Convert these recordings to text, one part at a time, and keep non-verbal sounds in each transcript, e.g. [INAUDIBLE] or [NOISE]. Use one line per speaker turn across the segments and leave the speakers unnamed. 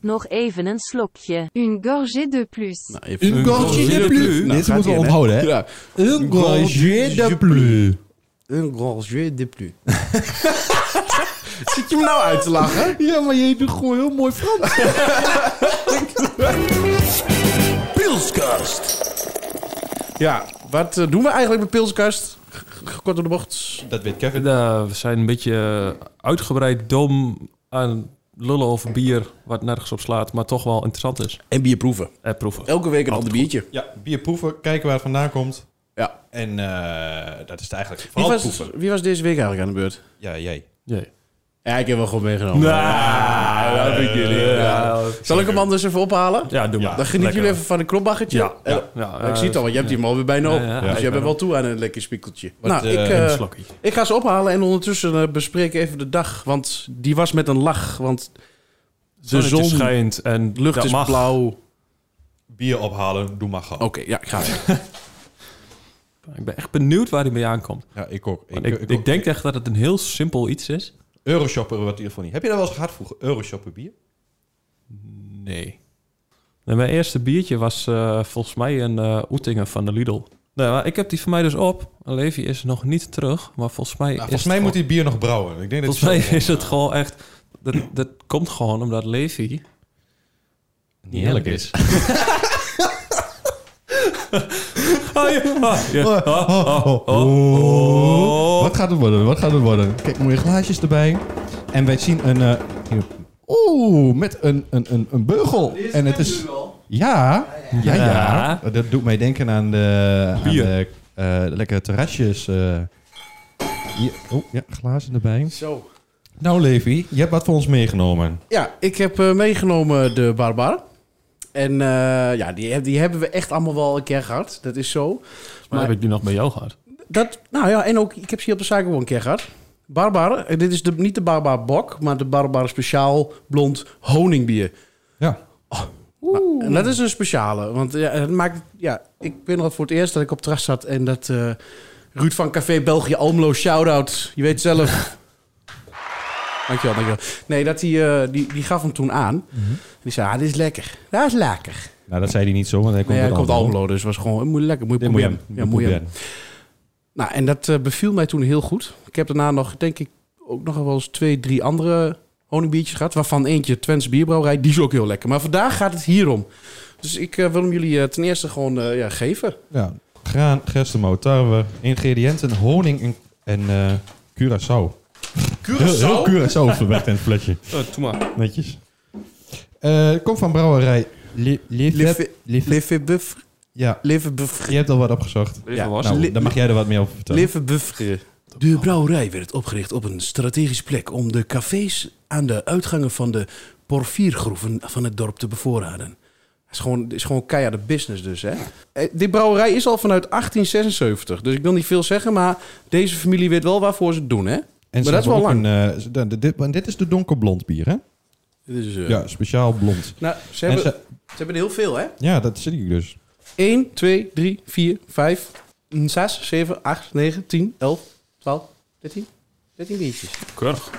Nog even een slokje.
Une gorgée de plus.
Nou, even
Een gorgé de plus.
Nou,
Deze
gaat
moeten we
ie in, hè?
onthouden, hè?
Ja.
Een gorgé de plus.
Un gorgé de plus.
[LAUGHS] Zit je me nou uit te lachen?
Ja, maar je doet gewoon heel mooi Frans.
Pilskast. Ja, wat eh, doen we eigenlijk met Pilskast? G- g- Kort door de bocht.
Dat weet Kevin.
Nou, we zijn een beetje eh, uitgebreid dom aan lullen over bier, wat nergens op slaat, maar toch wel interessant is.
En bier proeven.
En proeven.
Elke week een ander biertje.
Ja, bier proeven, kijken waar het vandaan komt.
Ja.
En eh, dat is het eigenlijk
Wie
vooral
was,
proeven.
wie was deze week eigenlijk aan de beurt?
Ja, jij.
Jee.
Ja, ik heb wel goed meegenomen. dat Nou, heb ik jullie. Ja. Zal ik hem anders even ophalen?
Ja, doe maar.
Dan genieten
Lekker.
jullie even van een klopbaggertje.
Ja,
Eh,
ja, ja,
ik
eh,
zie het al, want je hebt die hem alweer bijna op.
Ja,
dus
ja, ja,
jij
ik
bent
ben
wel toe aan een lekker spiekeltje.
Wat,
nou,
eh,
ik,
Een
eh,
slokkie.
ik ga ze ophalen en ondertussen eh, bespreek even de dag. Want die was met een lach. Want de
Zonnetje
zon,
schijnt en
lucht
dat
is
mag.
blauw.
Bier ophalen, doe maar gauw.
Oké, ja, ik ga weer.
Ik ben echt benieuwd waar hij mee aankomt.
Ja, ik ook.
Want Ik, ik, denk echt dat het een heel simpel iets is.
Euroshopper wat in ieder geval niet. Heb je dat wel eens gehad vroeger? Euroshopper bier? Nou,
Nee. mijn eerste biertje was eh, volgens mij een eh Oetingen van de Lidl. Nou, maar ik heb die van mij dus op. Levi is nog niet terug, maar volgens mij,
Nou,
is,
volgens mij moet
het
die bier nog brouwen. Ik denk dat
gewoon,
die
volgens mij
zo-
is het gewoon echt... Dat, dat komt gewoon omdat Levi...
niet eerlijk is.
Ah, ja, ah, ja. Ah, ah,
Oh,
ah.
oh. Wat gaat het worden? Wat gaat het worden? Kijk, mooie glaasjes erbij. En wij zien een... eh, hier. Oeh, met een, een, een, een beugel. en het is... Ja, ja, ja,
Ja.
Dat doet mij denken aan de, aan
Bier.
de eh, lekkere terrasjes. eh. Hier, oh, ja, glazen erbij.
Zo.
Nou, Levi, je hebt wat voor ons meegenomen.
Ja, ik heb eh, meegenomen de Barbar. En eh, ja, die, heb- die hebben we echt allemaal wel een keer gehad. Dat is zo.
Maar heb ik die nog bij jou gehad?
Dat, nou ja, en ook, ik heb ze hier op de zaak gewoon een keer gehad. Barbar, eh, dit is de, niet de Barbar Bok, maar de Barbar Speciaal Blond Honingbier.
Ja.
Nou, en dat is een speciale, want ja, het maakt, ja, ik weet nog dat voor het eerst dat ik op terras zat en dat eh, Ruud van Café België Almelo, shout-out, je weet [LAUGHS] zelf. dankjewel, dankjewel. Nee, dat die, eh, die, die gaf hem toen aan. En die zei, ah, dit is lekker, dat is lekker.
Nou, dat zei hij niet zo, want hij komt
Nee, hij
uit
komt
Almelo.
Almelo, dus was gewoon, moet je lekker, moet je
Dit moet je
proberen.
hem.
Ja, moet je hem. Nou, en dat eh, beviel mij toen heel goed. Ik heb daarna nog, denk ik, ook nog wel eens twee, drie andere honingbiertjes gehad. Waarvan eentje Twents Bierbrouwerij. Die is ook heel lekker. Maar vandaag gaat het hierom. Dus ik eh, wil hem jullie eh, ten eerste gewoon eh, ja, geven.
Ja, graan, gerstemout, tarwe, ingrediënten, honing en, en eh, curacao. Heel, heel curacao verwerkt in het fletje.
Oh, doe maar.
Netjes. Eh, het komt van brouwerij Le- Lefebvre.
Lefe-
Lefebvre.
Levenbuff.
Ja,
Levenbuff.
je hebt al wat opgezocht.
Even
Ja,
was.
Nou, dan mag jij er wat meer over vertellen.
Levenbuff. De brouwerij werd opgericht op een strategische plek om de cafés aan de uitgangen van de porfiergroeven van het dorp te bevoorraden. Het is gewoon, het is gewoon keiharde business dus, hè? Eh, Die brouwerij is al vanuit 1876, dus ik wil niet veel zeggen, maar deze familie weet wel waarvoor ze het doen, hè?
En ze
maar dat is wel
hebben ook
lang.
een, eh, ze- de- de- dit, want dit is de donkerblond bier, hè?
Dit is, eh,
Ja, speciaal blond.
Nou, ze
En
hebben, ze...
ze-
hebben er heel veel, hè?
ja, dat zie ik dus.
1, 2, 3, 4, 5, 6, 7, 8, 9, 10, 11, 12, 13, 13 biertjes.
Keurig.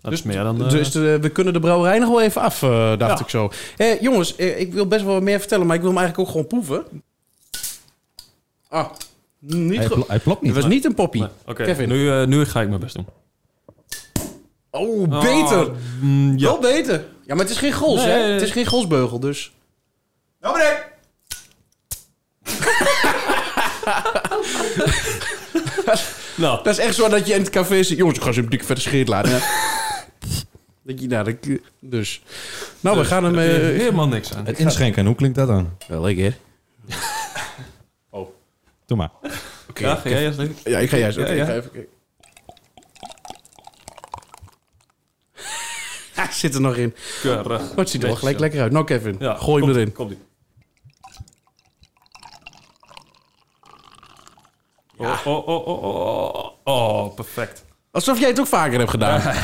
Dat is meer dan... eh,
Dus eh, we kunnen de brouwerij nog wel even af, eh, dacht
Ja.
ik zo. Eh, jongens, eh, ik wil best wel wat meer vertellen, maar ik wil hem eigenlijk ook gewoon proeven. Ah, niet
Hij,
goed.
pla- hij plapt
Het
niet.
was niet een poppie.
Nee, Oké,
Kevin.
nu, eh, nu ga ik mijn best doen.
Oh, beter.
Ah, mm, ja.
Wel beter. Ja, maar het is geen gols,
Nee,
hè?
nee, nee.
Het is geen golsbeugel, dus...
Nou,
Dat is echt zo dat je in het café zit... Jongens, ik ga ze een dikke vette scheet laten. [LAUGHS] hè. dat je, nou, dat, dus... Nou, we gaan hem...
eh,
eh,
helemaal niks aan.
Het inschenken, hoe klinkt dat dan?
Wel lekker.
Doe maar.
Oké.
Ja, ga jij eerst even-
Ja, ik ga juist. Oké,
Ja, ja.
ik ga even kijken. [LAUGHS] Hij zit er nog in.
Keurig.
Maar het ziet er wel
Netjes,
gelijk
ja.
lekker uit. Nou, Kevin,
Ja,
gooi hem
komt-
erin.
Komt ie. Oh, oh, oh, oh, oh, oh, perfect.
Alsof jij het ook vaker hebt gedaan.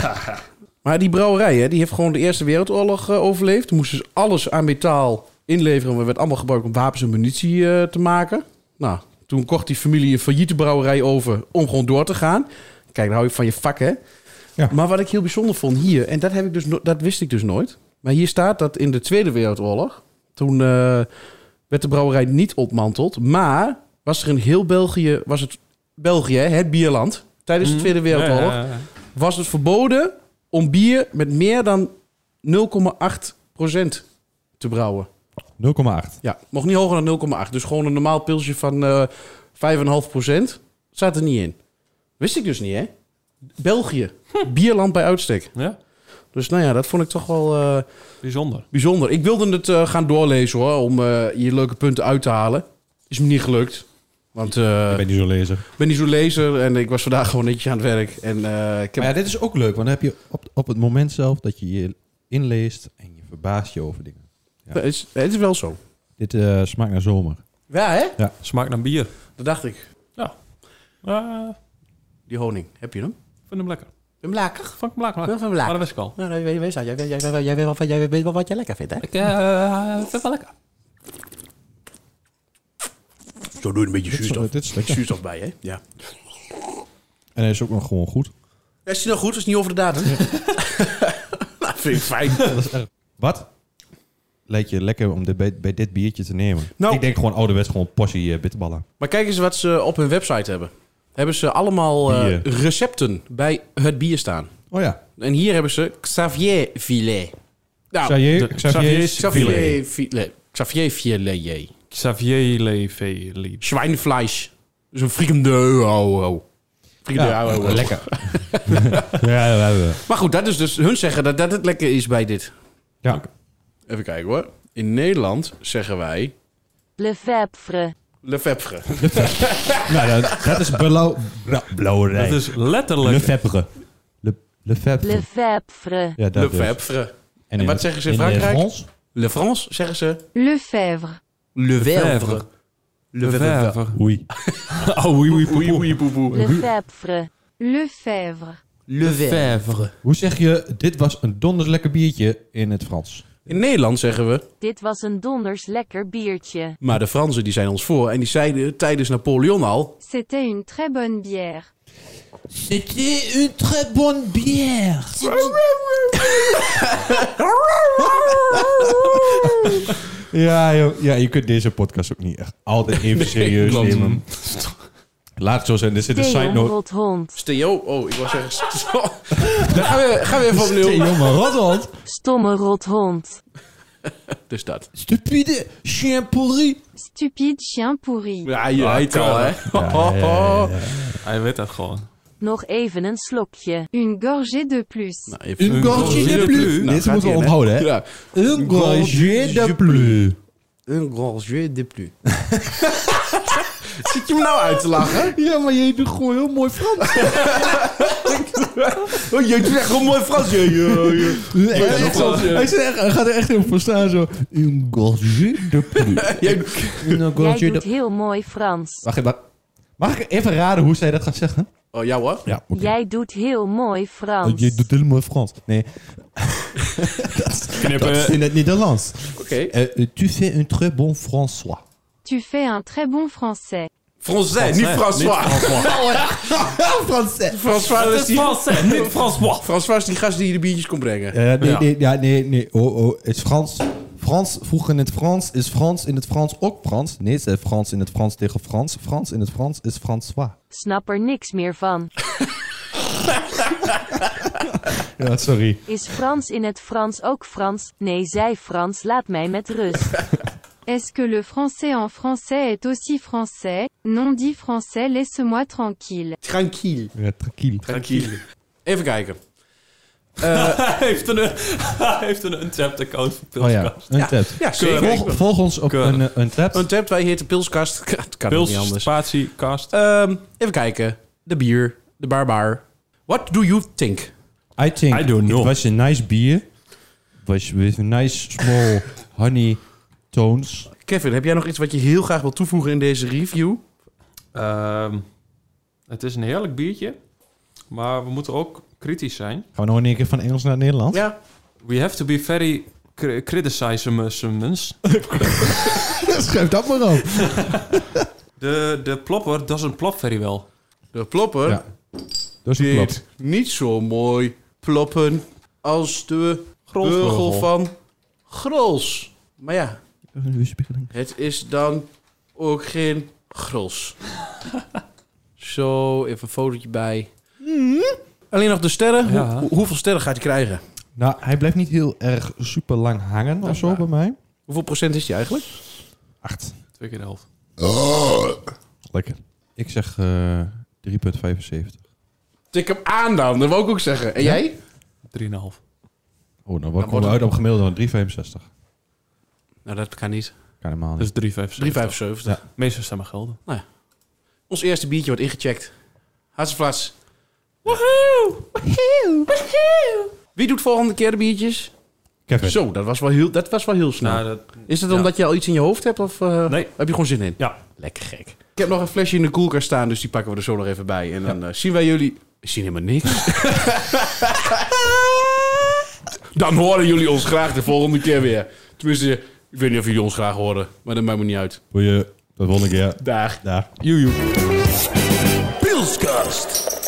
maar die brouwerij, hè, die heeft gewoon de Eerste Wereldoorlog eh, overleefd. Toen moesten ze alles aan metaal inleveren. We werd allemaal gebruikt om wapens en munitie eh, te maken. Nou, toen kocht die familie een failliete brouwerij over om gewoon door te gaan. Kijk, dan hou je van je vak, hè?
Ja.
Maar wat ik heel bijzonder vond hier, en dat, heb ik dus no- dat wist ik dus nooit. Maar hier staat dat in de Tweede Wereldoorlog, toen eh, werd de brouwerij niet ontmanteld, maar was er in heel België, was het België, hè, het bierland, tijdens de
Mhm.
Tweede Wereldoorlog,
Ja, ja, ja.
was het verboden om bier met meer dan 0,8% te brouwen.
0,8.
Ja, mocht niet hoger dan 0,8. Dus gewoon een normaal pilsje van eh 5,5% staat er niet in. Wist ik dus niet, hè? België, bierland bij uitstek.
Ja,
Dus nou ja, dat vond ik toch wel eh,
bijzonder.
bijzonder. Ik wilde het eh, gaan doorlezen hoor, om eh, hier leuke punten uit te halen. Is me niet gelukt. Want eh,
Ik ben niet zo lezen.
ik ben niet zo'n lezer en ik was vandaag gewoon netjes aan het werk. En eh, ik heb
Maar ja, dit is ook leuk, want dan heb je op, op het moment zelf dat je je inleest en je verbaast je over dingen. ja.
het, is, het is wel zo.
Dit eh, smaakt naar zomer.
Ja, hè?
Smaakt naar bier.
Dat dacht ik.
Ah, ik
Die honing, heb je hem?
vind hem lekker.
Hem lekker.
Vond ik hem lekker.
Hem van
Maar
lekker.
dat wist ik al.
Nou, jij weet jij weet- jij weet- jij weet wel wat- jij weet wel wat jij lekker vindt, hè?
Ik eh, vind het wel lekker.
Zo doe je een beetje
Dit is,
zuurstof,
dit
[LAUGHS]
is lekker.
zuurstof bij, hè? Ja.
En hij is ook nog gewoon goed.
Is die nou goed? Is niet over de
[LAUGHS]
datum? dat vind ik fijn.
Wat? Lijkt je lekker om dit bij, bij dit biertje te nemen?
Nou.
Ik denk gewoon oh, ouderwets gewoon portie eh, bitterballen.
Maar kijk eens wat ze op hun website hebben. Hebben ze allemaal eh,
Bier.
recepten bij het bier staan.
Oh ja.
En hier hebben ze Xavier Filet. Nou,
Xavier,
de-
Xavier,
Xavier's
Xavier.
Xavier Filet. Xavier Filet.
Xavier Levely.
Schweinefleisch. Dat is een frikandeu. Oh, oh. Frikandeu,
Ja,
oh, oh.
lekker. ja, we hebben.
Maar goed, dat is dus hun zeggen dat, dat het lekker is bij dit.
Ja.
Even kijken hoor. In Nederland zeggen wij
Lefebvre.
Lefebvre.
Nou, dat, dat is
[LAUGHS]
blauw.
Nou,
Blauw
Dat
Le
is letterlijk...
Febvre. Le, Le Febvre.
Lefebvre.
Ja, dat dus.
Lefebvre. En
in
wat
het-
zeggen ze in
in het
Frankrijk?
Frans?
Le France zeggen ze
Lefebvre.
Lefebvre. Lefebvre.
Lefebvre.
Oei.
[LAUGHS] Oh, oui,
Oei,
oui, poepoe.
oei, poe, poe.
Lefebvre.
Lefebvre.
Lefebvre.
Hoe zeg je, dit was een donders lekker biertje in het Frans?
In Nederland zeggen we,
Dit was een donders lekker biertje.
maar de Fransen die zijn ons voor. En die zeiden tijdens Napoleon al,
C'était une très bonne bière.
C'était une très bonne bière. [LAUGHS] ja, joh. ja, je kunt deze podcast ook niet echt altijd even serieus
klopt.
nemen. Laat het zo zijn, er zit een side
Theon
note.
Rothond.
Steo, oh, ik was zeggen, [LAUGHS] st- Dan gaan we, gaan we even opnieuw.
Jongen, Rothond.
Stomme Rothond.
Dus dat.
Stupide chien pourri.
Stupide chien pourri.
Ja, je weet al, hè.
ja, ja, ja.
Hij weet dat gewoon.
Nog even een slokje.
Une gorgée de plus.
Nou, even-
Een gorgé de plus.
Nou,
Dit
gaat
moeten we
in, hè.
onthouden, hè?
Ja.
Een gorgé de plus.
Een gorgée de plus.
[LAUGHS] Zit je me nou uit te lachen?
Ja, maar je doet gewoon heel mooi Frans.
Oh, je doet echt een mooi Frans. Je, je, je.
Hij is
wel-
echt- hij is echt- hij gaat er echt heel voor staan zo. Een gorgé de
[LAUGHS]
plus.
Jij-
Een
Jij
gorgé de
doet heel mooi Frans.
Wacht even. Mag ik even raden hoe zij dat gaat zeggen?
Oh, ja hoor.
Ja, Eh,
Jij doet heel mooi Frans.
Je doet helemaal Frans. Nee, [LAUGHS] dat is
Knippen.
in het Nederlands.
Oké.
Eh, eh, tu fais un très bon François. [LAUGHS]
Tu fais un très bon français.
Français, niet François. [LAUGHS] Nou,
Oh, Français.
François, dat is die...
Français, niet François.
François is die gast die de biertjes kon brengen.
Ja, Eh, nee,
Ja.
nee, ja, nee, nee. Oh, oh, het is Frans. Frans, vroeger in het Frans, is Frans in het Frans ook Frans? Nee, ze Frans in het Frans tegen Frans. Frans in het Frans is François.
Snap er niks meer van.
Ja, sorry.
Is Frans in het Frans ook Frans? Nee, zij Frans, laat mij met rust.
[LAUGHS] Est-ce que le français en français est aussi français Non dit français, laisse-moi tranquille.
Tranquille.
Ja, tranquil.
Tranquille. Even kijken.
[LAUGHS] Hij heeft een, hij heeft een untapped account voor
Oh
Pilskast.
ja, een tap.
Ja,
Volg, volg ons op
Keurig.
een, eh, een tap.
Untapped, wij heten Pilskast. [LAUGHS] Het kan ook niet
Pils,
anders.
spatie, kast.
Ehm, even kijken. De bier. De barbaar. What do you think?
I think
I don't know.
it was a nice beer. Was with nice small honey tones.
Kevin, heb jij nog iets wat je heel graag wil toevoegen in deze review?
Ehm, het is een heerlijk biertje, maar we moeten ook kritisch zijn.
Gaan we nog in één keer van Engels naar het Nederlands?
Ja.
We have to be very cri- criticismers.
[LAUGHS] Schrijf dat maar op.
De, de plopper doesn't plop very well.
De plopper
Ja, Dat is een klap.
deed niet zo mooi ploppen als de beugel
Grondbeugel.
van grols. Maar ja,
Een weerspiegeling.
het is dan ook geen grols. [LAUGHS] Zo, even een fotootje bij. Hmm? Alleen nog de sterren.
Ja.
Hoe- hoeveel sterren gaat hij krijgen?
Nou, hij blijft niet heel erg super lang hangen of zo bij mij.
Hoeveel procent is hij eigenlijk?
Acht.
Twee keer de helft.
Lekker. Ik zeg eh 3,75.
Tik hem aan dan, dat wou ik ook zeggen. En jij?
Drieënhalf.
Oh, nou,
Dan
wat komen
wordt
we
het-
uit op gemiddelde? 3,65.
Nou, dat kan niet.
Kan helemaal niet.
Dus 3,75.
3,75.
Ja.
De meeste stemmen gelden.
Ons eerste biertje wordt ingecheckt. Hartstikke Wie doet volgende keer de biertjes?
Kevin.
Zo, dat was wel heel, dat was wel heel snel.
Nou, dat,
is het
ja.
omdat je al iets in je hoofd hebt of eh,
Nee.
heb je gewoon zin in?
ja.
Lekker gek. Ik heb nog een flesje in de koelkast staan, dus die pakken we er zo nog even bij. En dan eh, zien wij jullie... We zien helemaal
[LAUGHS]
niks. dan horen jullie ons graag de volgende keer weer. Tenminste, ik weet niet of jullie ons graag horen, maar dat maakt me niet uit.
Wil je dat volgende keer?
Dag.
Daar.
Pilskast.